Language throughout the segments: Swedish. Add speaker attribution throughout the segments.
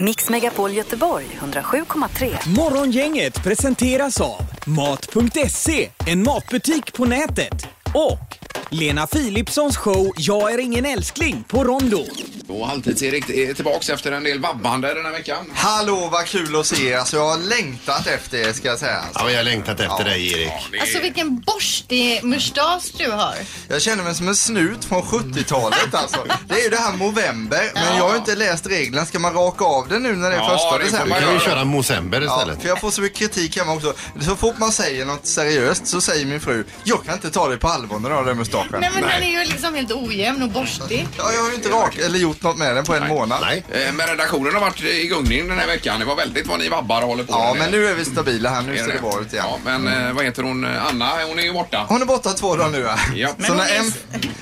Speaker 1: Mix Megapol Göteborg 107,3.
Speaker 2: Morgongänget presenteras av Mat.se, en matbutik på nätet. Och Lena Philipssons show Jag är ingen älskling på Rondo.
Speaker 3: Och Halvtids-Erik är tillbaks efter en del vabbande den här veckan.
Speaker 4: Hallå vad kul att se er. Alltså jag har längtat efter er ska jag säga. Alltså,
Speaker 5: Ja, jag har längtat efter dig Erik.
Speaker 6: Alltså vilken borstig mustasch du har.
Speaker 4: jag känner mig som en snut från 70-talet alltså. Det är ju det här november, men jag har ju inte läst reglerna. Ska man raka av den nu när det är
Speaker 3: Ja,
Speaker 4: första
Speaker 3: det får
Speaker 4: december?
Speaker 5: Då kan vi köra Mosember
Speaker 4: Ja,
Speaker 5: istället.
Speaker 4: för jag får så mycket kritik hemma också. Så fort man säger något seriöst så säger min fru, jag kan inte ta dig på allvar när du har den mustaschen.
Speaker 6: Nej men den är ju liksom helt ojämn och borstig.
Speaker 4: Ja, jag har ju inte rakt eller gjort något med den på en månad.
Speaker 5: Nej.
Speaker 3: Eh, Men redaktionen har varit i gungning den här veckan. Det var väldigt vad ni vabbar och håller på
Speaker 4: Ja,
Speaker 3: med.
Speaker 4: men nu är vi stabila här. Nu
Speaker 3: Är
Speaker 4: ser det bra ut igen. Mm.
Speaker 3: Ja, men eh, vad heter hon? Anna, hon är ju borta.
Speaker 4: Hon är borta två dagar nu.
Speaker 3: Ja.
Speaker 4: Ja. Så
Speaker 3: Men
Speaker 4: när
Speaker 6: hon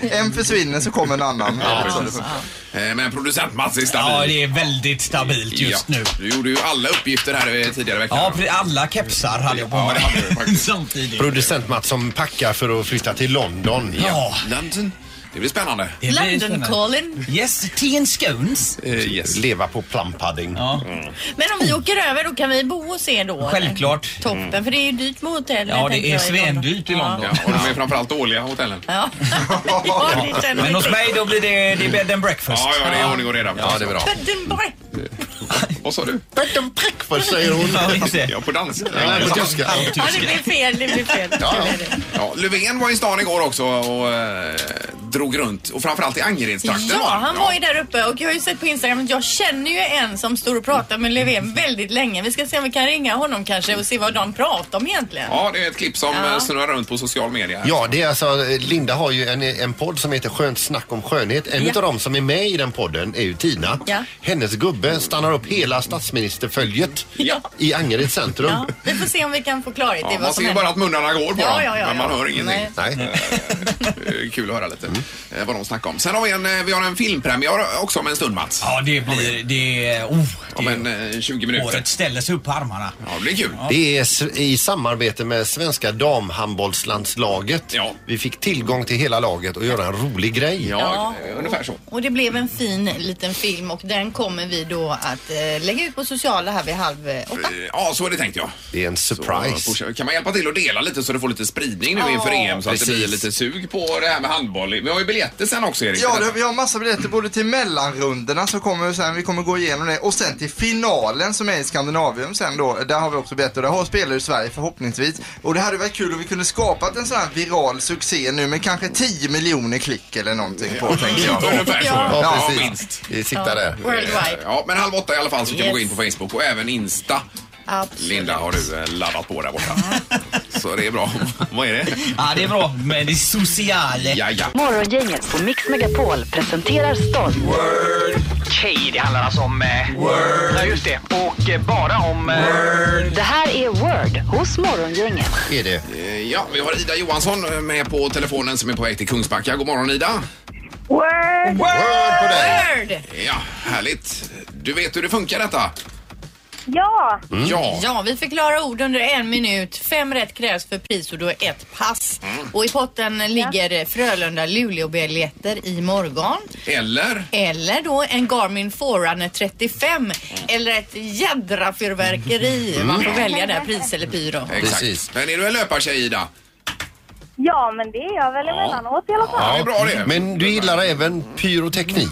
Speaker 4: en, en försvinner så kommer en annan.
Speaker 3: Ja, precis. Eh, Men producent Mats är stabil.
Speaker 7: Ja, det är väldigt stabilt just
Speaker 3: Ja,
Speaker 7: nu.
Speaker 3: Du gjorde ju alla uppgifter här eh, tidigare i veckan.
Speaker 7: Ja, för alla kepsar hade jag på
Speaker 3: Ja, det hade du
Speaker 7: mig
Speaker 3: faktiskt.
Speaker 7: samtidigt.
Speaker 5: Producent Mats som packar för att flytta till London.
Speaker 7: Ja,
Speaker 3: London. Det blir spännande.
Speaker 7: det blir
Speaker 6: London
Speaker 7: spännande.
Speaker 6: Colin.
Speaker 7: Yes, tea and scones.
Speaker 3: Eh, yes.
Speaker 5: Leva på plumpudding. Mm.
Speaker 6: Men om vi åker över då kan vi bo hos er då? eller?
Speaker 7: Självklart. Mm.
Speaker 6: Toppen, för det är ju dyrt med hotell.
Speaker 7: Ja, det
Speaker 6: tänker
Speaker 7: är
Speaker 6: jag, i London.
Speaker 7: svendyrt i London.
Speaker 3: Ja, och de är framförallt dåliga hotellen.
Speaker 6: Ja, ja. ja det känner
Speaker 7: Men
Speaker 6: vi.
Speaker 7: hos mig då blir det, det är bed and breakfast.
Speaker 3: Ja, ja, det är ordning och reda.
Speaker 5: Ja, det är bra.
Speaker 6: Edinburgh.
Speaker 3: Vad sa du?
Speaker 5: Berton Prickfors säger hon.
Speaker 7: Ja, just det.
Speaker 3: Ja, på dans.
Speaker 5: Nej, på tyska.
Speaker 6: Ja, det blev fel, det blev fel.
Speaker 5: Ja, ja.
Speaker 3: Ja, Löfven var i stan igår också och eh, drog runt. Och framförallt i Angeredstrakten
Speaker 6: Ja, han var ju
Speaker 3: Ja.
Speaker 6: där uppe och jag har ju sett på Instagram att jag känner ju en som står och pratar med Löfven väldigt länge. Vi ska se om vi kan ringa honom kanske och se vad de pratar om egentligen.
Speaker 3: Ja, det är ett klipp som
Speaker 6: Ja.
Speaker 3: eh, snurrar runt på social media.
Speaker 5: Ja, det är alltså, Linda har ju en, en podd som heter Skönt snack om skönhet. En
Speaker 6: Ja.
Speaker 5: utav dem som är med i den podden är ju Tina.
Speaker 6: Ja.
Speaker 5: Hennes gubbe stannar upp hela statsministerföljet
Speaker 3: Ja.
Speaker 5: i Angereds centrum.
Speaker 6: Ja, vi får se om vi kan få klarhet i
Speaker 3: Ja, man
Speaker 6: vad som
Speaker 3: ser ju bara
Speaker 6: händer.
Speaker 3: att munnarna går på
Speaker 6: Ja,
Speaker 3: dem,
Speaker 6: ja, ja,
Speaker 3: men man
Speaker 6: ja.
Speaker 3: hör ingenting.
Speaker 6: Nej.
Speaker 5: Nej. Mm.
Speaker 3: Eh, Kul att höra lite eh, vad de snackar om. Sen har vi en, eh, vi har en filmpremiär också om en stund, Mats.
Speaker 7: Ja, det blir... Det är... Oh,
Speaker 3: Om en
Speaker 7: det
Speaker 3: eh, 20
Speaker 7: är
Speaker 3: minuter.
Speaker 7: året ställer sig upp på armarna.
Speaker 3: Ja, det blir kul.
Speaker 5: Det är s- i samarbete med svenska damhandbollslandslaget.
Speaker 3: Ja.
Speaker 5: Vi fick tillgång till hela laget och göra en rolig grej.
Speaker 3: Ja, eh, ungefär så.
Speaker 6: Och det blev en fin liten film och den kommer vi då att eh, lägga ut på sociala här vid halv eh, åtta.
Speaker 3: Eh, Ja, så är det tänkt jag.
Speaker 5: Det är en surprise.
Speaker 3: Så, kan man hjälpa till att dela lite så det får lite spridning nu
Speaker 6: Ja.
Speaker 3: inför EM så att det
Speaker 5: Precis.
Speaker 3: blir lite sug på det här med handboll. Vi har ju biljetter sen också Erik.
Speaker 4: Ja, det, vi har massa biljetter både till mellanrundorna så kommer vi sen, vi kommer gå igenom det och sen till finalen som är i Skandinavium sen då. Där har vi också biljetter och där har spelare i Sverige förhoppningsvis. Och det hade varit kul om vi kunde skapat en sån här viral succé nu med kanske 10 miljoner klick eller någonting på tänker jag.
Speaker 3: Ungefär så. Ja,
Speaker 5: Ja,
Speaker 3: minst.
Speaker 5: precis. Vi siktar där.
Speaker 6: Worldwide.
Speaker 3: Ja, men halv åtta i alla fall så kan man
Speaker 6: Yes.
Speaker 3: gå in på Facebook och även Insta.
Speaker 6: Absolut.
Speaker 3: Linda har du eh, laddat på där borta. Så det är bra. Vad är det?
Speaker 7: Ja, det är bra med det sociala.
Speaker 3: Ja, ja.
Speaker 1: Morgongänget på Mix Megapol presenterar stolt.
Speaker 8: Okej, det handlar alltså om... Eh, Word. Ja, just det. Och eh, bara om... Eh,
Speaker 1: Det här är Word hos Morgongänget.
Speaker 5: Är det?
Speaker 3: Eh, Ja, vi har Ida Johansson eh, med på telefonen som är på väg till Kungsbacka. God morgon Ida!
Speaker 9: Word!
Speaker 5: Word på dig!
Speaker 6: Word!
Speaker 3: Ja, härligt. Du vet hur det funkar detta?
Speaker 9: Ja!
Speaker 3: Mm. Ja.
Speaker 6: Ja, vi förklarar ord under en minut. Fem rätt krävs för pris och då ett pass.
Speaker 3: Mm.
Speaker 6: Och i potten ligger Frölunda-Luleå-biljetter i morgon.
Speaker 3: Eller?
Speaker 6: Eller då en Garmin Forerunner
Speaker 3: Mm.
Speaker 6: 35. Eller ett jädra fyrverkeri. Man
Speaker 3: Mm.
Speaker 6: får välja där, pris eller pyro.
Speaker 3: Exakt.
Speaker 5: Precis.
Speaker 3: Men är du en löpartjej Ida?
Speaker 9: Ja, men det är jag väl emellanåt i alla fall.
Speaker 3: Ja, det är bra det.
Speaker 5: Men du gillar även pyroteknik.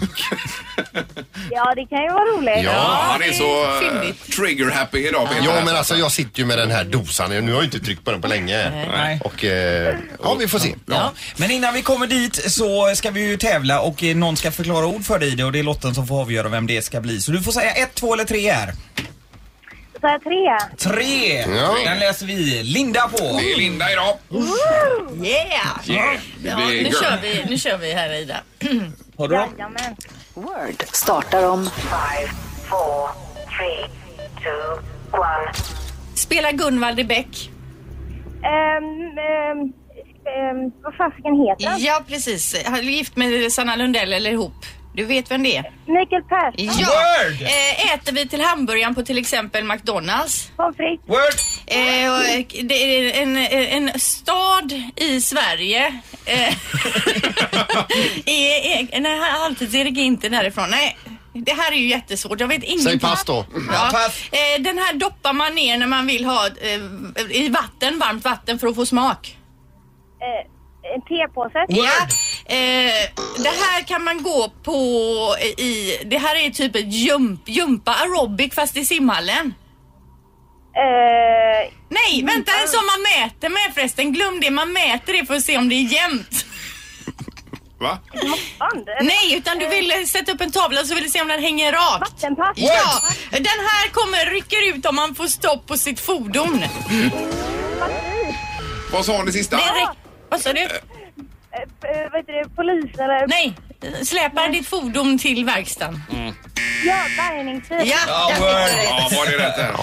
Speaker 9: Ja, det kan ju vara roligt.
Speaker 5: Ja.
Speaker 3: Han är så
Speaker 6: det är
Speaker 3: eh, trigger-happy idag Peter.
Speaker 5: Ja men alltså jag sitter ju med den här dosan. Nu har jag inte tryckt på den på länge.
Speaker 7: Nej.
Speaker 5: Och eh, ja vi får se.
Speaker 7: Ja. Men innan vi kommer dit så ska vi ju tävla och eh, någon ska förklara ord för dig Ida, och det är lotten som får avgöra vem det ska bli. Så du får säga ett, två eller tre här.
Speaker 9: Så här tre.
Speaker 7: Tre!
Speaker 5: Ja.
Speaker 7: Den läser vi Linda på.
Speaker 3: Det är Linda idag.
Speaker 6: Yeah!
Speaker 3: Yeah.
Speaker 6: Ja,
Speaker 3: Det är
Speaker 6: nu,
Speaker 3: girl.
Speaker 6: kör vi, nu kör vi här Ida.
Speaker 7: Har du dem?
Speaker 9: Jajamän.
Speaker 1: Word startar om
Speaker 6: Spela Gunvald i Bäck.
Speaker 9: Ehm, ehm, ehm, vad fasiken heter han?
Speaker 6: Ja, precis. Han är gift med Sanna Lundell eller ihop. Du vet vem det är?
Speaker 9: Mikael Persson.
Speaker 6: Ja!
Speaker 7: Word!
Speaker 6: Eh, äter vi till hamburgaren på till exempel McDonalds?
Speaker 9: Pommes frites.
Speaker 7: Word!
Speaker 6: Eh, och, eh, det är en, eh, en stad i Sverige. Eh, är- är- nej, alltid Erik är inte därifrån. Nej. Det här är ju jättesvårt. Jag vet ingenting.
Speaker 5: Säg pass då.
Speaker 6: Ja.
Speaker 7: pass.
Speaker 6: Eh, Den här doppar man ner när man vill ha eh, i vatten, varmt vatten för att få smak.
Speaker 9: Eh, en tepåse.
Speaker 6: Ja. Eh, det här kan man gå på i... Det här är typ ett jump, jumpa aerobic fast i simhallen.
Speaker 9: Eh,
Speaker 6: Nej, vänta en som man mäter med förresten. Glöm det, man mäter det för att se om det är jämnt.
Speaker 3: Va?
Speaker 9: band. Eller
Speaker 6: Nej, utan du ville sätta upp en tavla så vill du se om den hänger rakt.
Speaker 9: Vattenpass.
Speaker 6: Ja, den här kommer rycker ut om man får stopp på sitt fordon.
Speaker 3: Vad sa ni sista?
Speaker 6: Den räck- Vad sa du?
Speaker 9: Eh, eh, vad heter det? Polis eller?
Speaker 6: Nej, släpar ditt fordon till verkstaden.
Speaker 9: Ja, bärgningsbil.
Speaker 6: Mm. Ja,
Speaker 7: Ja,
Speaker 6: där fick
Speaker 7: word.
Speaker 6: du det.
Speaker 3: Ja, var det rätt där?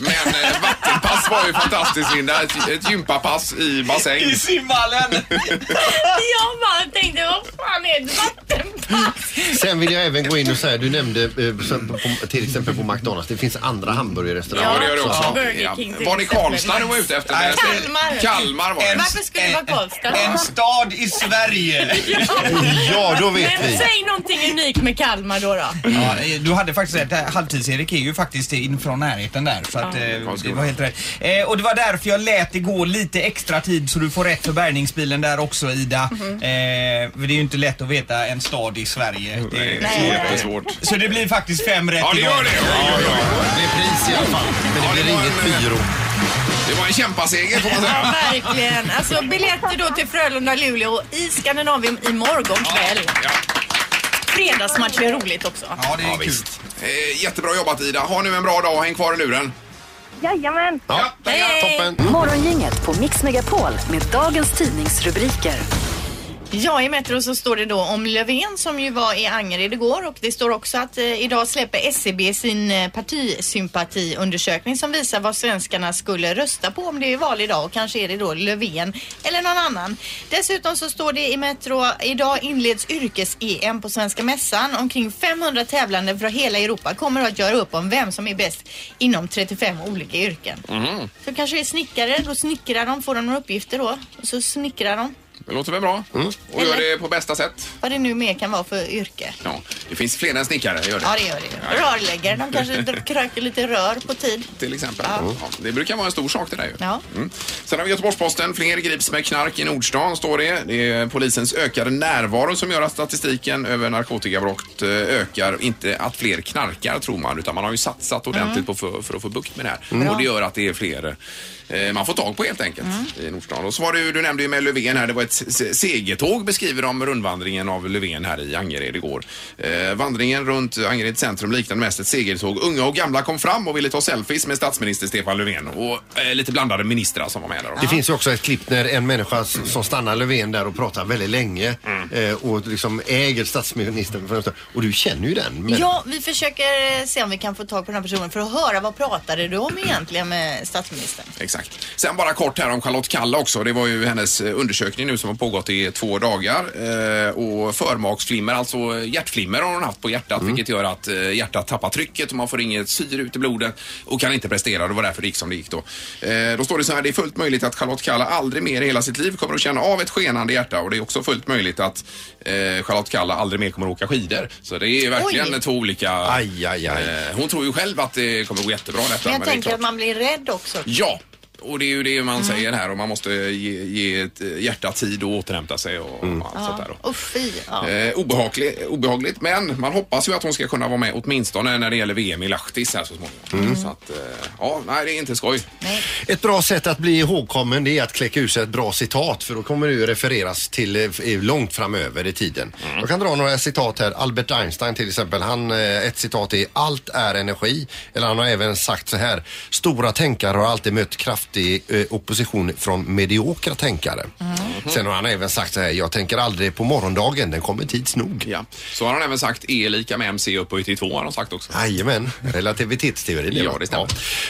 Speaker 3: Men eh, vattenpass var ju fantastiskt Linda. Ett, ett gympapass i bassäng.
Speaker 7: I simhallen!
Speaker 6: Jag bara tänkte, vad fan är ett vattenpass?
Speaker 5: Sen vill jag även gå in och säga, du nämnde eh, så- på, till exempel på McDonalds, det finns andra hamburgerrestauranger.
Speaker 3: Ja, det gör det också.
Speaker 6: Ja, Burger King till
Speaker 3: Var det
Speaker 6: exempel.
Speaker 3: Karlstad du var ute efter?
Speaker 7: Nej.
Speaker 6: Kalmar.
Speaker 3: Kalmar var det.
Speaker 6: Varför skulle det vara Karlstad?
Speaker 7: En stad i Sverige!
Speaker 5: Ja, då vet
Speaker 6: Men
Speaker 5: vi.
Speaker 6: säg någonting unikt med Kalmar då. då.
Speaker 7: Ja, eh, du hade faktiskt rätt. Det här Halvtids-Erik är ju faktiskt in från närheten där. Så att, eh, det var helt rätt. Eh, och det var därför jag lät det gå lite extra tid så du får rätt för bärgningsbilen där också Ida. Eh, för det är ju inte lätt att veta en stad i Sverige. Det är
Speaker 3: Det är svårt.
Speaker 7: Så det blir faktiskt fem rätt
Speaker 3: Ja, det gör
Speaker 7: idag.
Speaker 3: det. Ja, ja, ja.
Speaker 5: Det är pris i alla fall. Men
Speaker 3: Ja,
Speaker 5: det
Speaker 3: det
Speaker 5: blir
Speaker 3: var
Speaker 5: inget
Speaker 3: en, eh,
Speaker 5: byrå.
Speaker 3: Det var en kämpaseger får man
Speaker 6: Ja,
Speaker 3: säga.
Speaker 6: verkligen. Alltså biljetter då till Frölunda-Luleå i Skandinavium imorgon kväll.
Speaker 3: Ja.
Speaker 6: Fredagsmatch är roligt också.
Speaker 7: Ja, det är
Speaker 5: Ja,
Speaker 7: kul.
Speaker 5: visst.
Speaker 3: Eh, jättebra jobbat Ida. Ha nu en bra dag. Häng kvar i luren.
Speaker 9: Jajamän.
Speaker 5: Ja,
Speaker 6: Hej.
Speaker 5: toppen.
Speaker 1: Morgongänget på Mix Megapol med dagens tidningsrubriker.
Speaker 6: Ja, i Metro så står det då om Löfven som ju var i Angered igår och det står också att eh, idag släpper SCB sin eh, partisympatiundersökning som visar vad svenskarna skulle rösta på om det är val idag och kanske är det då Löfven eller någon annan. Dessutom så står det i Metro idag inleds yrkes-EM på Svenska Mässan. Omkring 500 tävlande från hela Europa kommer att göra upp om vem som är bäst inom 35 olika yrken.
Speaker 5: Mm.
Speaker 6: Så kanske det är snickare, då snickrar de, får de några uppgifter då och så snickrar de
Speaker 3: Det låter väl bra. Och gör det på bästa sätt.
Speaker 6: vad det nu mer kan vara för yrke.
Speaker 3: Ja. Det finns fler än snickare. Gör det.
Speaker 6: Ja, det gör det. Rörläggare, de kanske dr- kröker lite rör på tid.
Speaker 3: till exempel. Ja, det brukar vara en stor sak det där ju.
Speaker 6: Ja.
Speaker 3: Mm. Sen har vi Göteborgs-Posten. Fler grips med knark i Nordstan, står det. Det är polisens ökade närvaro som gör att statistiken över narkotikabrott eh, ökar. Inte att fler knarkar, tror man, utan man har ju satsat ordentligt
Speaker 6: Mm.
Speaker 3: på för, för att få bukt med det här. Och det gör att det är fler eh, man får tag på helt enkelt i Nordstan. Och så var det ju, du nämnde ju med Löfven här, det var ett se- se- segertåg beskriver de rundvandringen av Löfven här i Angered igår. Eh, vandringen runt Angered centrum liknade mest ett segertåg. Unga och gamla kom fram och ville ta selfies med statsminister Stefan Löfven och eh, lite blandade ministrar som var med där.
Speaker 5: Det finns ju också ett klipp när en människa s- som stannar Löfven där och pratar väldigt länge
Speaker 3: Mm.
Speaker 5: eh, och liksom äger statsministern. för en stund. Och du känner ju den. Men
Speaker 6: Ja, vi försöker eh, se om vi kan få tag på den här personen för att höra vad pratade du om egentligen med statsministern?
Speaker 3: Exakt. Sen bara kort här om Charlotte Kalla också. Det var ju hennes eh, undersökning nu som har pågått i två dagar. Eh, och förmaksflimmer, alltså hjärtflimmer har hon haft på hjärtat
Speaker 5: Mm.
Speaker 3: vilket gör att eh, hjärtat tappar trycket och man får inget syre ut i blodet och kan inte prestera. Det var därför det gick som det gick då. Eh, då står det så här, det är fullt möjligt att Charlotte Kalla aldrig mer i hela sitt liv kommer att känna av ett skenande hjärta och det är också fullt möjligt att eh, Charlotte Kalla aldrig mer kommer att åka skidor. Så det är ju verkligen
Speaker 6: Oj.
Speaker 3: två olika...
Speaker 5: Aj, aj, aj.
Speaker 3: Eh, hon tror ju själv att det kommer gå jättebra detta.
Speaker 6: Men jag
Speaker 3: det är
Speaker 6: tänker
Speaker 3: klart-
Speaker 6: att man blir rädd också.
Speaker 3: Ja, och det är ju det man
Speaker 6: Mm.
Speaker 3: säger här och man måste ge, ge ett eh, hjärta tid och återhämta sig och allt sånt där. Då.
Speaker 6: Usch fy. Mm. Ja.
Speaker 3: Eh, obehagligt, obehagligt, men man hoppas ju att hon ska kunna vara med åtminstone när det gäller VM i Lahtis här så småningom.
Speaker 6: Mm.
Speaker 3: Så att, eh, ja, nej det är inte skoj.
Speaker 6: Nej.
Speaker 5: Ett bra sätt att bli ihågkommen det är att kläcka ur sig ett bra citat för då kommer det ju refereras till eh, f- långt framöver i tiden. Jag kan dra några citat här. Albert Einstein till exempel, han, eh, ett citat är allt är energi. Eller han har även sagt så här, stora tänkare har alltid mött kraftig eh, opposition från mediokra tänkare.
Speaker 6: Mm.
Speaker 3: Mm.
Speaker 5: Sen har han även sagt så här, jag tänker aldrig på morgondagen, den kommer tids nog.
Speaker 3: Ja. Så har han även sagt E är lika med MC upphöjt till två har han sagt också.
Speaker 5: Jajamän, relativitetsteorin.
Speaker 3: Ja,
Speaker 5: var.
Speaker 3: det stämmer.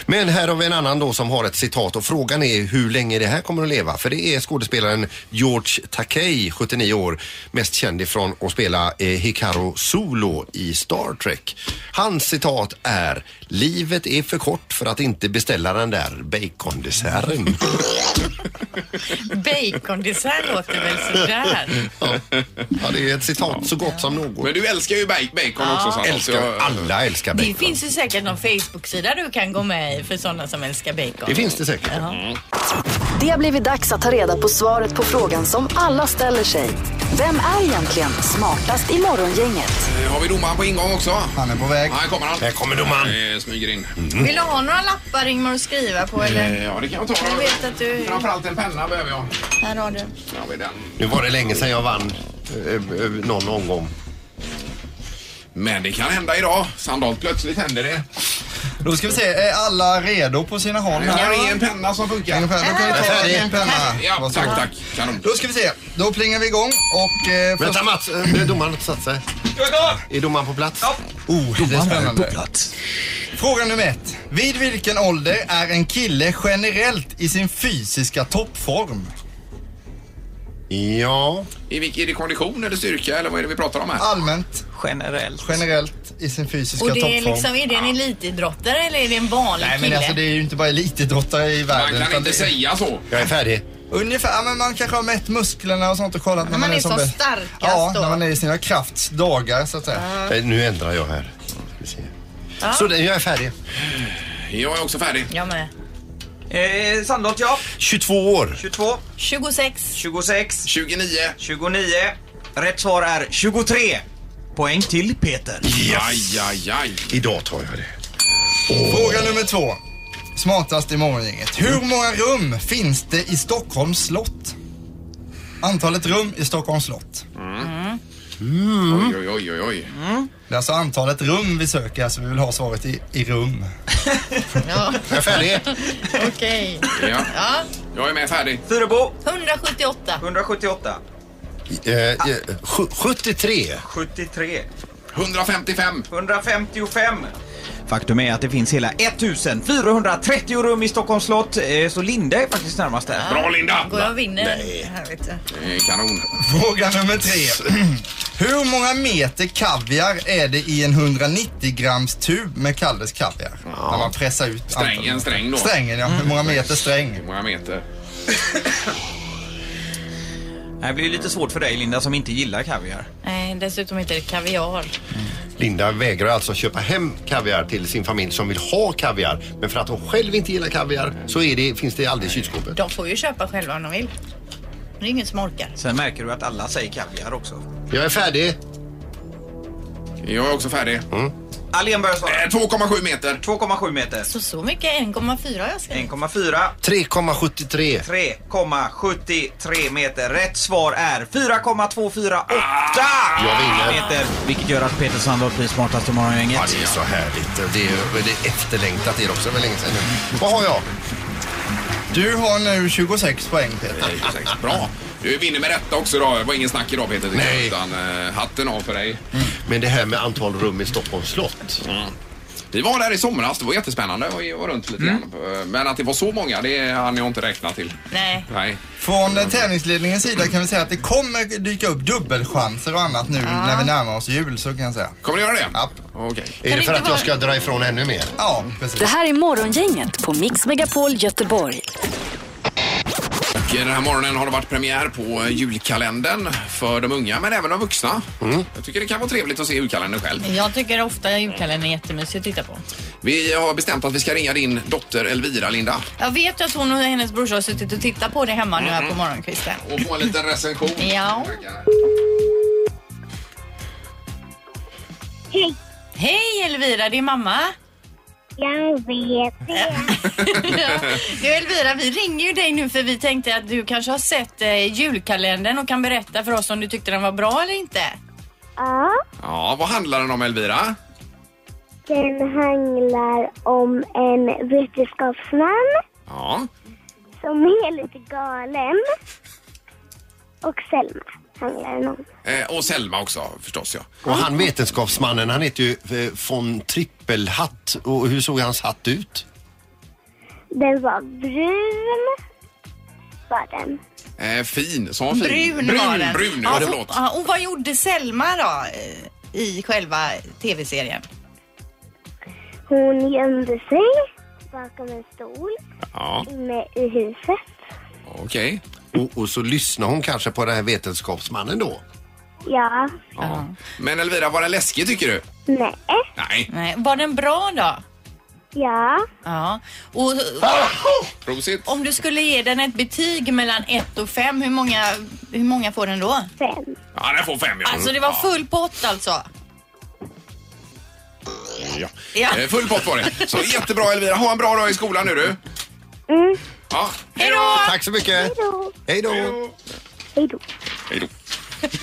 Speaker 5: Men här har vi en annan då som har ett citat och frågan är hur länge det här kommer att leva. För det är skådespelaren George Takei, 79 år, mest känd ifrån att spela eh, Hikaru Solo i Star Trek. Hans citat är Livet är för kort för att inte beställa den där baconduken. bacondesserten.
Speaker 6: Bacondessert låter väl sådär.
Speaker 5: ja. ja, det är ett citat så gott som något.
Speaker 3: Men du älskar ju ba- bacon också. Sanna, så
Speaker 5: älskar,
Speaker 3: jag-
Speaker 5: alla älskar bacon.
Speaker 6: Det finns ju säkert någon Facebook-sida du kan gå med i för sådana som älskar bacon.
Speaker 5: det, finns det säkert.
Speaker 3: Mm.
Speaker 1: Det har blivit dags att ta reda på svaret på frågan som alla ställer sig. Vem är egentligen smartast i Morgongänget?
Speaker 3: Eh, Har vi domaren på ingång också?
Speaker 4: Han är på väg.
Speaker 3: Här kommer han.
Speaker 5: Här kommer domaren.
Speaker 3: Eh, Smyger in.
Speaker 6: Vill du ha några lappar Ingmar att skriva på eller?
Speaker 3: Eh, Ja, det kan jag ta.
Speaker 6: Jag vet att du...
Speaker 3: Framförallt en penna behöver jag.
Speaker 6: Här har du.
Speaker 3: Ja, med den.
Speaker 5: Nu var det länge sedan jag vann eh, eh, någon omgång.
Speaker 3: Men det kan hända idag. Sandholt, plötsligt händer det.
Speaker 4: Då ska vi se, är alla redo på sina håll
Speaker 3: Jag
Speaker 4: här?
Speaker 3: har en penna som
Speaker 4: Ingen
Speaker 3: funkar.
Speaker 4: penna, kan du ta din penna?
Speaker 3: Ja,
Speaker 4: Varsågod.
Speaker 3: tack, tack. Kanon.
Speaker 4: Då ska vi se, då plingar vi igång och... Eh, först-
Speaker 5: Vänta Mats, eh, domaren har inte satt sig. Är domaren på plats?
Speaker 4: oh, det är spännande.
Speaker 2: plats.
Speaker 4: Fråga nummer ett. Vid vilken ålder är en kille generellt i sin fysiska toppform?
Speaker 5: Ja.
Speaker 3: I vilk- Är det kondition eller styrka eller vad är det vi pratar om här?
Speaker 4: Allmänt,
Speaker 7: Generellt.
Speaker 4: generellt i sin fysiska
Speaker 6: Och
Speaker 4: toppform.
Speaker 6: det är liksom, är det en elitidrottare eller är det en vanlig
Speaker 4: Nej men
Speaker 6: kille?
Speaker 4: alltså det är ju inte bara elitidrottare i
Speaker 3: Man
Speaker 4: världen.
Speaker 3: kan
Speaker 4: utan
Speaker 3: inte
Speaker 4: det är-
Speaker 3: säga så.
Speaker 5: Jag är färdig.
Speaker 4: Ungefär, ja, men man kanske har mätt musklerna och sånt och kollat när
Speaker 6: man
Speaker 4: man,
Speaker 6: är som
Speaker 4: bäst.
Speaker 6: starkast
Speaker 4: Ja,
Speaker 6: då.
Speaker 4: när man är i sina krafts dagar så att säga.
Speaker 5: Eh, Nu ändrar jag här. Ska vi se. Så det, jag är färdig.
Speaker 3: Jag är också färdig.
Speaker 6: Jag med.
Speaker 7: Eh, Sandholt, ja.
Speaker 5: 22 år.
Speaker 7: 22,
Speaker 6: 26.
Speaker 7: 26,
Speaker 3: 29.
Speaker 7: 29. Rätt svar är 23. Poäng till Peter.
Speaker 3: Aj, aj, aj.
Speaker 5: Idag tar jag det.
Speaker 4: Fråga nummer två. Smartast i morgongänget. Hur många rum finns det i Stockholms slott? Antalet rum i Stockholms slott.
Speaker 6: Mm.
Speaker 3: Oj, Mm. oj, oj, oj, oj.
Speaker 4: Det är alltså antalet rum vi söker, alltså vi vill ha svaret i, i rum.
Speaker 6: Ja,
Speaker 5: Jag är färdig.
Speaker 6: okej.
Speaker 3: Ja.
Speaker 6: Ja,
Speaker 3: Jag är med färdig.
Speaker 7: Fyrebo,
Speaker 6: 178.
Speaker 7: 178.
Speaker 5: Eh, eh, sju- 73.
Speaker 7: 73.
Speaker 3: 155.
Speaker 7: 155. Faktum är att det finns hela 1430 rum i Stockholms slott, eh, så Linda är faktiskt närmast där.
Speaker 3: Bra Linda!
Speaker 6: Går jag och vinner här vet du.
Speaker 3: Eh, Kanon.
Speaker 4: Fråga nummer tre. Hur många meter kaviar är det i en 190 grams tub med Kalles kaviar? När man pressar ut
Speaker 3: Strängen, sträng då. Mm.
Speaker 4: Strängen ja, hur många meter sträng?
Speaker 3: Hur många meter?
Speaker 7: Det här blir ju lite svårt för dig Linda som inte gillar kaviar.
Speaker 6: Nej, dessutom heter det kaviar.
Speaker 5: Linda vägrar alltså köpa hem kaviar till sin familj som vill ha kaviar. Men för att hon själv inte gillar kaviar så är det, finns det aldrig i kylskåpet.
Speaker 6: De får ju köpa själva om de vill. Det är ingen som orkar.
Speaker 7: Sen märker du att alla säger kaviar också.
Speaker 5: Jag är färdig. Mm.
Speaker 3: Jag är också färdig. Eh,
Speaker 7: Allén börjar svara.
Speaker 3: 2,7 meter.
Speaker 7: 2,7 meter.
Speaker 6: Så så mycket, 1,4 har jag skrivit.
Speaker 7: 1,4.
Speaker 5: 3,73.
Speaker 7: 3,73 meter. Rätt svar är 4,248
Speaker 3: Ah!
Speaker 5: Jag vinner.
Speaker 7: meter. Vilket gör att Peter Sandholt blir smartast i
Speaker 5: Ja,
Speaker 7: Morgongänget.
Speaker 5: det är så härligt. Och Det är, och det är efterlängtat det är också. Det var länge sedan nu. Vad har jag?
Speaker 4: Du har nu 26 poäng Peter.
Speaker 3: Eh, sex. Bra. Du vinner med detta också idag. Det var ingen snack idag Peter. tycker jag,
Speaker 5: Nej. Mm.
Speaker 3: Utan eh, hatten av för dig. Mm.
Speaker 5: Men det här med antal rum i Stockholms slott.
Speaker 3: Vi var där i somras. Det var jättespännande. Vi var runt lite grann.
Speaker 5: Mm.
Speaker 3: Eh, Men att det var så många, det hann jag inte räkna till.
Speaker 6: Nej.
Speaker 3: Nej.
Speaker 4: Från eh, tävlingsledningens sida kan vi säga att det kommer dyka upp dubbelchanser och annat nu när vi närmar oss jul så kan jag säga.
Speaker 3: Kommer du göra det?
Speaker 4: Japp.
Speaker 3: Okej.
Speaker 5: Är det
Speaker 6: det
Speaker 5: för
Speaker 6: inte
Speaker 5: att jag
Speaker 6: vara-
Speaker 5: ska dra ifrån ännu mer?
Speaker 4: Ja, precis.
Speaker 1: Det här är Morgongänget på Mix Megapol Göteborg.
Speaker 3: Och den här morgonen har det varit premiär på julkalendern för de unga men även de vuxna.
Speaker 6: Mm.
Speaker 3: Jag tycker det kan vara trevligt att se julkalendern själv.
Speaker 6: Jag tycker ofta julkalendern är jättemysig att titta på.
Speaker 3: Vi har bestämt att vi ska ringa din dotter Elvira, Linda.
Speaker 6: Jag vet ju att hon och hennes brorsa har suttit och tittat på det hemma nu här på morgonkvisten.
Speaker 3: Och få en liten recension.
Speaker 6: Ja.
Speaker 9: Hej,
Speaker 6: Hej Elvira, det är mamma.
Speaker 9: jag vet det.
Speaker 6: Ja. Du Elvira, vi ringer ju dig nu för vi tänkte att du kanske har sett eh, julkalendern och kan berätta för oss om du tyckte den var bra eller inte.
Speaker 9: Ja,
Speaker 3: Ja, vad handlar den om Elvira?
Speaker 9: den handlar om en vetenskapsman
Speaker 3: Ja.
Speaker 9: som är lite galen. Och Selma handlar den om.
Speaker 3: Eh, och Selma också förstås ja.
Speaker 5: Och han vetenskapsmannen, han heter ju eh, von Trippelhatt. Och hur såg hans hatt ut?
Speaker 9: Den var brun, var den.
Speaker 3: Eh, fin, sa hon fin?
Speaker 6: Brun,
Speaker 3: brun,
Speaker 6: var den.
Speaker 3: Brun, ja,
Speaker 6: ja, och,
Speaker 3: förlåt.
Speaker 6: ja, och vad gjorde Selma då eh, i själva tv-serien?
Speaker 9: Hon gömde sig bakom en stol.
Speaker 3: Ja,
Speaker 9: inne i huset.
Speaker 3: okej.
Speaker 5: Och, och så lyssnar hon kanske på den här vetenskapsmannen då.
Speaker 9: Ja.
Speaker 3: Ja. Men Elvira, var den läskig tycker du?
Speaker 9: Nej.
Speaker 3: Nej,
Speaker 6: Nej, var den bra då?
Speaker 9: Ja.
Speaker 6: Ja. Och
Speaker 3: prosit.
Speaker 6: om du skulle ge den ett betyg mellan 1 och 5, hur många, hur många får den då?
Speaker 9: Fem.
Speaker 3: Ja, den får fem. Ja. Mm.
Speaker 6: Alltså det var
Speaker 3: Ja.
Speaker 6: full pott alltså.
Speaker 3: Ja.
Speaker 6: Ja.
Speaker 3: Eh, Full pott var det. Så jättebra Elvira. Ha en bra dag i skolan nu du.
Speaker 9: Mm.
Speaker 3: Ja.
Speaker 6: Hej då!
Speaker 5: Tack så mycket.
Speaker 9: Hejdå.
Speaker 5: Hej då.
Speaker 9: Hejdå.
Speaker 3: Hej då.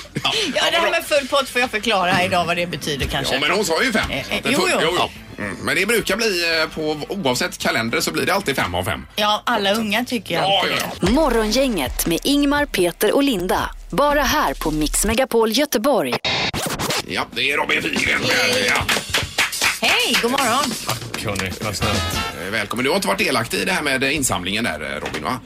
Speaker 6: Ja, det här med full pott får jag förklara här idag vad det betyder kanske.
Speaker 3: Ja, men hon sa ju fem.
Speaker 6: Eh, eh,
Speaker 3: Så att det
Speaker 6: jo,
Speaker 3: full-
Speaker 6: jo.
Speaker 3: Mm. Men det brukar bli eh, på oavsett kalender så blir det alltid fem av fem.
Speaker 6: Ja, alla unga tycker ju
Speaker 3: Ja,
Speaker 6: alltid
Speaker 3: ja,
Speaker 6: det.
Speaker 3: ja.
Speaker 1: Morgongänget med Ingmar, Peter och Linda. Bara här på Mix Megapol Göteborg.
Speaker 3: Ja, det är Robin Figren. här. Ja.
Speaker 6: Hej, god morgon.
Speaker 10: Hörni, vad snällt.
Speaker 3: Eh, Välkommen. Du har inte varit delaktig i det här med eh, insamlingen där eh, Robin va?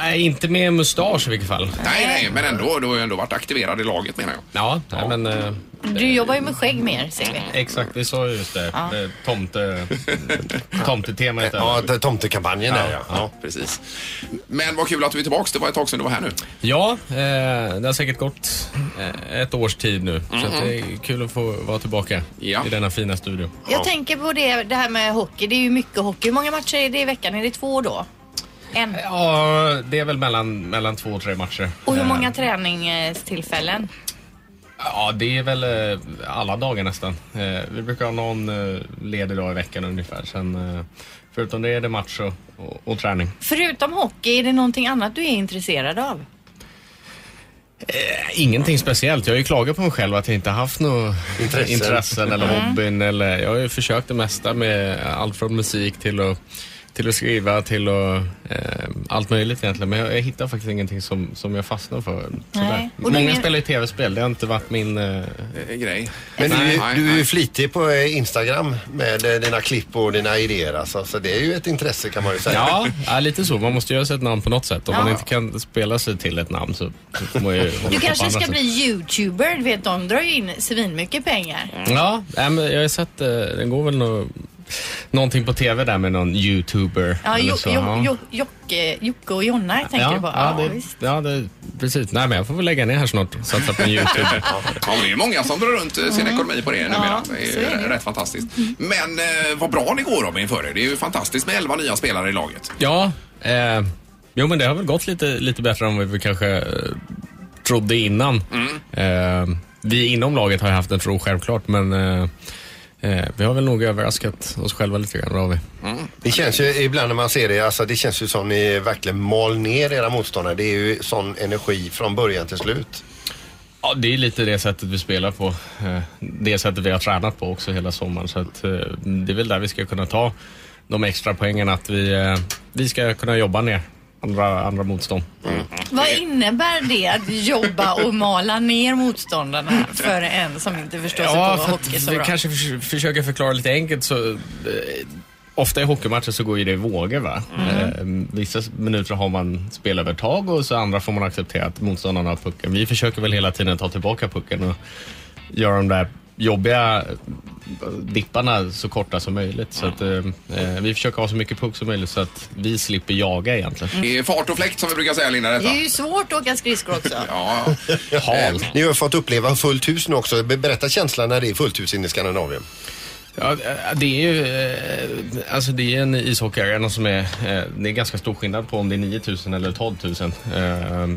Speaker 10: Nej, inte med mustasch i vilket fall.
Speaker 3: Nej, nej, men ändå. Du har ju ändå varit aktiverad i laget menar jag.
Speaker 10: Ja, Nej, men eh,
Speaker 6: Du jobbar ju med skägg mer, ser vi.
Speaker 10: exakt. Vi sa ju just det.
Speaker 6: Ja.
Speaker 10: Eh, Tomte, tomtetemat. där.
Speaker 5: Ja, t- tomtekampanjen där ja. ja.
Speaker 3: Precis. Men vad kul att du är tillbaka. Det var ett tag sedan du var här nu.
Speaker 10: Ja, eh, det har säkert gått eh, ett års tid nu. Så att det är kul att få vara tillbaka
Speaker 3: Mhm. Ja.
Speaker 10: i denna fina studio.
Speaker 6: Jag tänker på det, det här med hockey. Det är ju mycket hockey. Hur många matcher är det i veckan? Är det två då? En.
Speaker 10: Ja, det är väl mellan, mellan två och tre matcher.
Speaker 6: Och hur
Speaker 10: Eh,
Speaker 6: många träningstillfällen?
Speaker 10: Ja, det är väl eh, alla dagar nästan. Eh, Vi brukar ha någon eh, ledig dag i veckan ungefär. Sen, eh, förutom det är det match och, och, och träning.
Speaker 6: Förutom hockey, är det någonting annat du är intresserad av?
Speaker 10: Ingenting speciellt. Jag har ju klagat på mig själv att jag inte haft några
Speaker 5: Intressen.
Speaker 10: intressen. eller
Speaker 3: Mm.
Speaker 10: hobbyn. Eller, jag har ju försökt det mesta med allt från musik till att, till att skriva till att, eh, allt möjligt egentligen. Men jag, jag hittar faktiskt ingenting som, som jag fastnar för. tyvärr.
Speaker 6: Nej. Och du
Speaker 10: Många
Speaker 6: är-
Speaker 10: spelar ju tv-spel. Det har inte varit min... Eh,
Speaker 3: Eh, Grej.
Speaker 5: Men du,
Speaker 3: Nej,
Speaker 5: är
Speaker 3: nej,
Speaker 5: ju- du är
Speaker 3: nej.
Speaker 5: ju flitig på eh, Instagram med eh, dina klipp och dina idéer alltså. Så det är ju ett intresse kan man ju säga. Mm.
Speaker 10: ja, ja, lite så. Man måste göra sig ett namn på något sätt. Om man inte kan spela sig till ett namn så, så får man ju hålla på
Speaker 6: Du
Speaker 10: på
Speaker 6: kanske
Speaker 10: andra
Speaker 6: ska
Speaker 10: sätt.
Speaker 6: bli youtuber. Du vet, de drar ju in svinmycket pengar.
Speaker 10: Ja, nej, men jag har sett, eh, det går väl nå någonting på tv där med någon youtuber.
Speaker 6: Ja,
Speaker 10: eller
Speaker 6: jo,
Speaker 10: så,
Speaker 6: jo,
Speaker 10: ja.
Speaker 6: jo, Jocke, Jocke och Jonna tänker
Speaker 10: ja,
Speaker 6: du på.
Speaker 10: Ja,
Speaker 6: Ja,
Speaker 10: det,
Speaker 6: visst.
Speaker 10: ja det, precis. Nej, men jag får väl lägga ner här snart och satsa på en youtube.
Speaker 3: Ja, men det är många som drar runt eh, sin ekonomi på det numera. Det är
Speaker 6: så
Speaker 3: ju
Speaker 6: är det.
Speaker 3: rätt fantastiskt. Men eh, vad bra det går Robin för er. Det är ju fantastiskt med 11 nya spelare i laget.
Speaker 10: ja, eh, jo men det har väl gått lite, lite bättre än vad vi kanske eh, trodde innan. Eh, vi inom laget har ju haft en tro självklart, men eh, eh, vi har väl nog överraskat oss själva lite grann. det Har vi.
Speaker 3: Mm.
Speaker 5: Det känns ju ibland när man ser det, alltså det känns ju som ni verkligen mal ner era motståndare. Det är ju sån energi från början till slut.
Speaker 10: Ja, det är lite det sättet vi spelar på. Eh, Det sättet vi har tränat på också hela sommaren. Så att, eh, det är väl där vi ska kunna ta de extra poängen. Att vi, eh, vi ska kunna jobba ner andra, andra motstånd.
Speaker 6: Vad innebär det att jobba och mala ner motståndarna för en som inte förstår sig
Speaker 10: Ja,
Speaker 6: på
Speaker 10: för
Speaker 6: hockey
Speaker 10: att
Speaker 6: så
Speaker 10: vi
Speaker 6: bra?
Speaker 10: kanske förs- försöker förklara lite enkelt så eh, Ofta i hockeymatcher så går ju det i vågor. Va?
Speaker 6: Mm.
Speaker 10: Eh, vissa minuter har man spelövertag och så andra får man acceptera att motståndarna har pucken. Vi försöker väl hela tiden ta tillbaka pucken och göra de där jobbiga eh, dipparna så korta som möjligt. Så att, eh, eh, vi försöker ha så mycket puck som möjligt så att vi slipper jaga egentligen.
Speaker 3: Det är fart och fläkt som vi brukar säga Linda.
Speaker 6: Det
Speaker 3: Detta.
Speaker 6: är ju svårt att åka skridskor också.
Speaker 3: Ja,
Speaker 5: Eh, Ni har ju fått uppleva fullt hus nu också. Be- Berätta känslan när det är fullt hus inne i Skandinavien.
Speaker 10: Ja, det är ju eh, alltså det är en ishockeyarena som är, eh, det är ganska stor skillnad på om det är 9000 eller 12 000. Eh,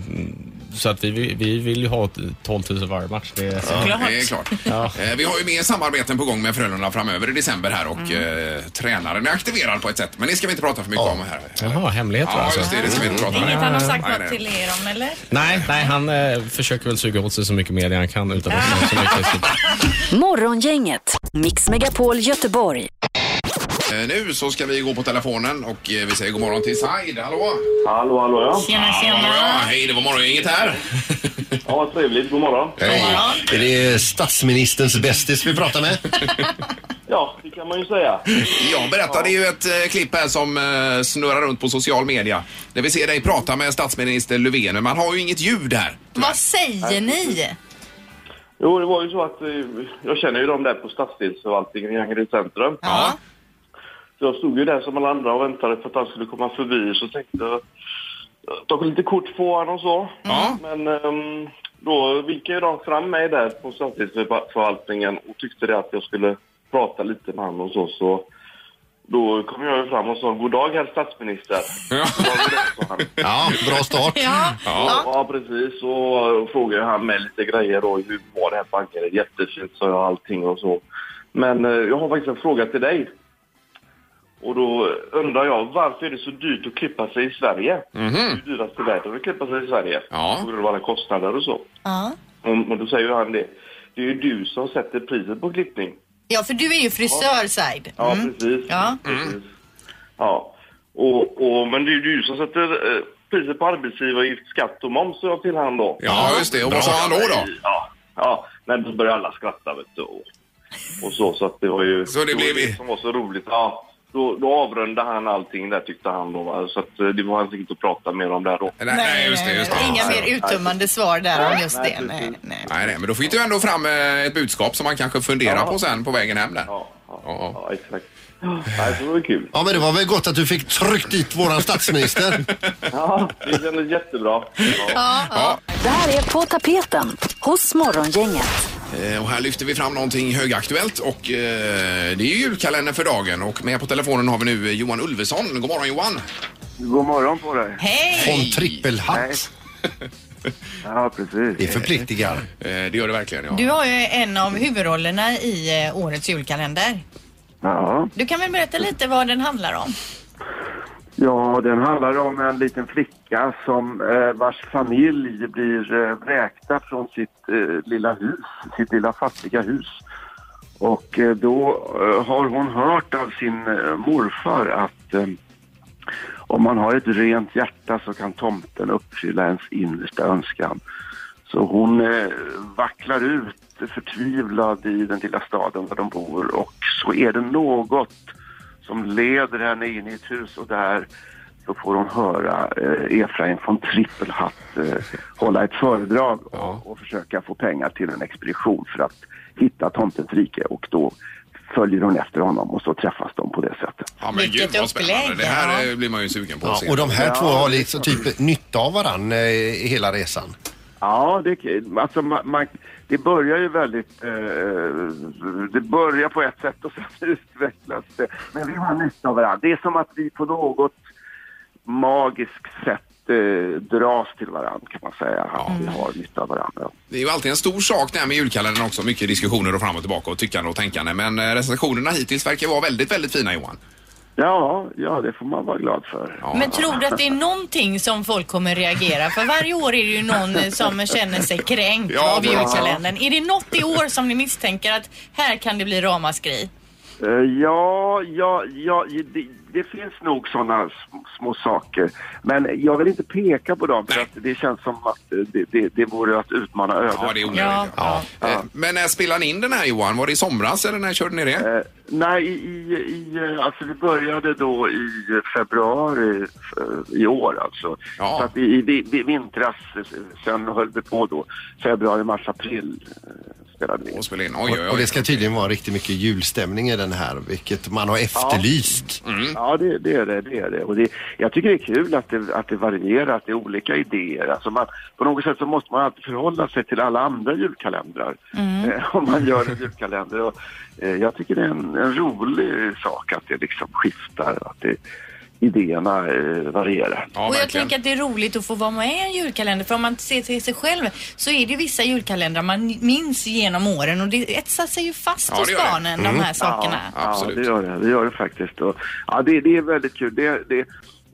Speaker 10: Så att vi, vi- vi vill ju ha ett 12 000 varje match. Det är,
Speaker 3: ja, det är klart. Eh, Vi har ju mer samarbeten på gång med Frölunda framöver i december här och eh, tränaren är aktiverad på ett sätt. Men det ska vi inte prata för mycket om här.
Speaker 10: Jaha, hemligheter
Speaker 3: Ja,
Speaker 10: alltså?
Speaker 3: just det. Det ska vi inte prata om.
Speaker 6: Inget han har sagt
Speaker 3: Nej,
Speaker 6: något
Speaker 3: nej.
Speaker 6: till er om eller?
Speaker 10: Nej, nej, han eh, försöker väl suga åt sig så mycket media han kan utan att säga så mycket.
Speaker 1: Morgongänget, Mix Megapol Göteborg.
Speaker 3: Eh, Nu så ska vi gå på telefonen och eh, vi säger god morgon till Said. Hallå!
Speaker 11: Hallå, hallå ja.
Speaker 6: Tjena,
Speaker 3: Ja,
Speaker 6: tjena.
Speaker 3: hej, det var morgongänget här.
Speaker 11: Ja, trevligt. God morgon.
Speaker 5: Är det statsministerns bästis vi pratar med?
Speaker 11: Ja, det kan man ju säga.
Speaker 3: Jag berättade ju ett eh, klipp här som eh, snurrar runt på social media. Där vi ser dig prata med statsminister Löfven, men man har ju inget ljud här.
Speaker 6: Vad säger ni?
Speaker 11: Jo, det var ju så att eh, jag känner ju dem där på stadsdelsförvaltningen i Angered centrum.
Speaker 6: Ja.
Speaker 11: Så jag stod ju där som alla andra och väntade på att han skulle komma förbi. Så tänkte jag eh, jag tog lite kort på honom och så. Men ehm, då vinkade ju de fram mig där på Stadsdelsförvaltningen och tyckte det att jag skulle prata lite med honom och så. så då kom jag ju fram och sa god dag herr statsminister. Ja,
Speaker 5: ja bra start.
Speaker 6: Ja.
Speaker 11: Ja. precis. Och frågade han mig lite grejer då. Hur var det här bankandet? Jättefint sa jag allting och så. Men eh, jag har faktiskt en fråga till dig. Och då undrar jag varför är det så dyrt att klippa sig i Sverige? Det är ju dyrast i världen att klippa sig i Sverige.
Speaker 3: Ja.
Speaker 11: På grund av alla kostnader och så.
Speaker 6: Ja.
Speaker 11: Och, och då säger han det. Det är ju du som sätter priset på klippning.
Speaker 6: ja, för du är ju frisör, Said.
Speaker 11: Ja,
Speaker 6: Mm.
Speaker 11: precis.
Speaker 6: Ja.
Speaker 11: precis. Ja. Och, och, men det är ju du som sätter eh, priset på arbetsgivaravgift, skatt och moms jag till han då.
Speaker 3: Ja, just det. Och vad sa han då då?
Speaker 11: Ja, ja. men då började alla skratta vet du. Och, och så, så att det var ju...
Speaker 3: Så det blev
Speaker 11: var
Speaker 3: vi.
Speaker 11: som var så roligt. Ja. Då, då avrundade han allting där tyckte han då. va. Så att eh, det var hans inget att prata mer om där då.
Speaker 3: Nej, nej, just det. Just det.
Speaker 6: Inga mer uttömmande svar där om just det. Nej, nej.
Speaker 3: Nej, nej, men då fick du ändå fram eh, ett budskap som man kanske funderar på sen på vägen hem där.
Speaker 11: Ja, ja,
Speaker 3: Ja.
Speaker 11: ja exakt. Nej, så det var ju kul.
Speaker 5: Ja men det var väl gott att du fick tryckt dit våran statsminister.
Speaker 11: Ja, det kändes jättebra. Ja.
Speaker 1: Det här är På tapeten hos Morgongänget.
Speaker 3: Eh, Och här lyfter vi fram någonting högaktuellt och eh, det är ju julkalendern för dagen och med på telefonen har vi nu eh, Johan Ulveson. God morgon Johan!
Speaker 11: God morgon på dig.
Speaker 6: Hej!
Speaker 5: Von trippelhatt.
Speaker 11: Ja, precis.
Speaker 5: Det förpliktigar.
Speaker 3: Eh, Det gör det verkligen ja.
Speaker 6: Du har ju en av huvudrollerna i eh, årets julkalender.
Speaker 11: Ja.
Speaker 6: Du kan väl berätta lite vad den handlar om?
Speaker 11: Ja, den handlar om en liten flicka som eh, vars familj blir eh, vräkta från sitt eh, lilla hus, sitt lilla fattiga hus. Och eh, då eh, har hon hört av sin eh, morfar att eh, om man har ett rent hjärta så kan tomten uppfylla ens innersta önskan. Så hon eh, vacklar ut förtvivlad i den lilla staden där de bor och så är det något som leder henne in i ett hus och där så får hon höra eh, Efraim von Trippelhatt eh, hålla ett föredrag och, och försöka få pengar till en expedition för att hitta tomtens rike och då följer hon efter honom och så träffas de på det sättet.
Speaker 3: Ja,
Speaker 6: Vilket upplägg,
Speaker 3: Det här
Speaker 6: ja.
Speaker 3: eh, blir man ju sugen på att
Speaker 5: Ja,
Speaker 3: se.
Speaker 5: och de här två har liksom typ nytta av varann eh, i hela resan.
Speaker 11: Ja, det, alltså, man, man, det börjar ju väldigt... Eh, det börjar på ett sätt och sen utvecklas det. Men vi har nytta av varandra. Det är som att vi på något magiskt sätt eh, dras till varandra kan man säga. Att vi har nytta av varandra.
Speaker 3: Det är ju alltid en stor sak det här med julkalendern också. Mycket diskussioner och fram och tillbaka och tyckande och tänkande. Men eh, recensionerna hittills verkar vara väldigt, väldigt fina Johan.
Speaker 11: Ja, ja, det får man vara glad för.
Speaker 3: Ja.
Speaker 6: Men tror du att det är någonting som folk kommer reagera? För varje år är det ju någon eh, som känner sig kränkt
Speaker 3: Ja,
Speaker 6: av
Speaker 3: precis.
Speaker 6: julkalendern. Är det något i år som ni misstänker att här kan det bli ramaskri?
Speaker 11: Eh, Ja, ja, ja det, det finns nog sådana små saker. Men jag vill inte peka på dem för
Speaker 3: Nej.
Speaker 11: att det känns som att eh, det, det, det vore att utmana ödet.
Speaker 3: Ja, det är onödigt.
Speaker 6: Ja,
Speaker 3: Ja. Eh, Men när spelade ni in den här Johan? Var det i somras eller när körde ni det?
Speaker 11: Eh, nej, i, i, i, eh, alltså vi började då i februari eh, i år alltså.
Speaker 3: Ja.
Speaker 11: Så att i, i, vi- vi- vintras, eh, sen höll vi på då februari, mars, april eh, spelade vi.
Speaker 3: Och spelade in. Oj, oj,
Speaker 5: Och, och det
Speaker 3: oj.
Speaker 5: ska tydligen vara riktigt mycket julstämning i den här, vilket man har efterlyst.
Speaker 3: Mm.
Speaker 11: Ja, det, det är det. det, är det. Och det jag tycker det är kul att det, att det varierar, att det är olika idéer. Alltså man, på något sätt så måste man alltid förhålla sig till alla andra julkalendrar
Speaker 3: Mm.
Speaker 11: eh, om man gör en julkalender. Och, eh, jag tycker det är en, en rolig sak att det liksom skiftar, att det, idéerna eh, varierar.
Speaker 3: Ja,
Speaker 6: och jag
Speaker 3: verkligen.
Speaker 6: tänker att det är roligt att få vara med i en julkalender för om man ser till sig själv så är det ju vissa julkalendrar man minns genom åren och det etsar sig ju fast
Speaker 3: Ja,
Speaker 6: hos
Speaker 3: det Mm. gör det.
Speaker 6: barnen de här sakerna.
Speaker 3: Absolut.
Speaker 11: Mm. Ja, det gör det. Det gör det faktiskt. Och, ja, det, det är väldigt kul. Det, det,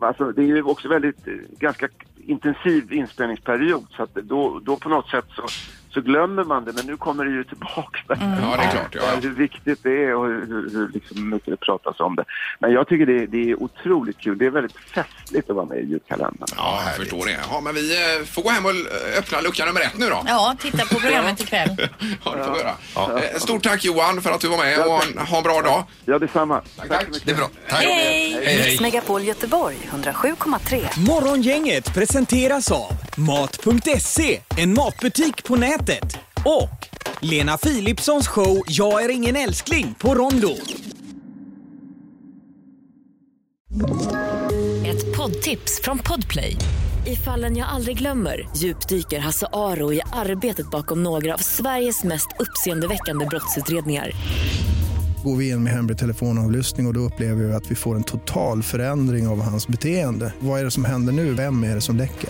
Speaker 11: alltså, det är ju också väldigt, eh, ganska intensiv inspelningsperiod så att då, då på något sätt så, så glömmer man det. Men nu kommer det ju tillbaka.
Speaker 6: Mm.
Speaker 3: Ja, det är klart. Ja, ja.
Speaker 11: Hur viktigt det är och hur, hur, hur liksom mycket det pratas om det. Men jag tycker det, det är otroligt kul. Det är väldigt festligt att vara med i julkalendern.
Speaker 3: Ja, jag förstår det. Ja, men vi eh, får gå hem och l- öppna lucka nummer ett nu då.
Speaker 6: Ja, titta på programmet ikväll.
Speaker 3: Ja, det får vi göra. Eh, Stort tack Johan för att du var med och ha en- ha en bra dag.
Speaker 11: Ja, detsamma. Tack, Tack så mycket.
Speaker 5: Det är bra. Tack.
Speaker 6: Hej!
Speaker 1: Mix Megapol Göteborg 107,3.
Speaker 2: Morgongänget presenteras av Mat.se, en matbutik på nätet och Lena Philipssons show Jag är ingen älskling på Rondo.
Speaker 12: Ett poddtips från Podplay. I fallen jag aldrig glömmer djupdyker Hasse Aro i arbetet bakom några av Sveriges mest uppseendeväckande brottsutredningar.
Speaker 13: Går vi in med hemlig telefonavlyssning och, och då upplever vi att vi får en total förändring av hans beteende. Vad är det som händer nu? Vem är det som läcker?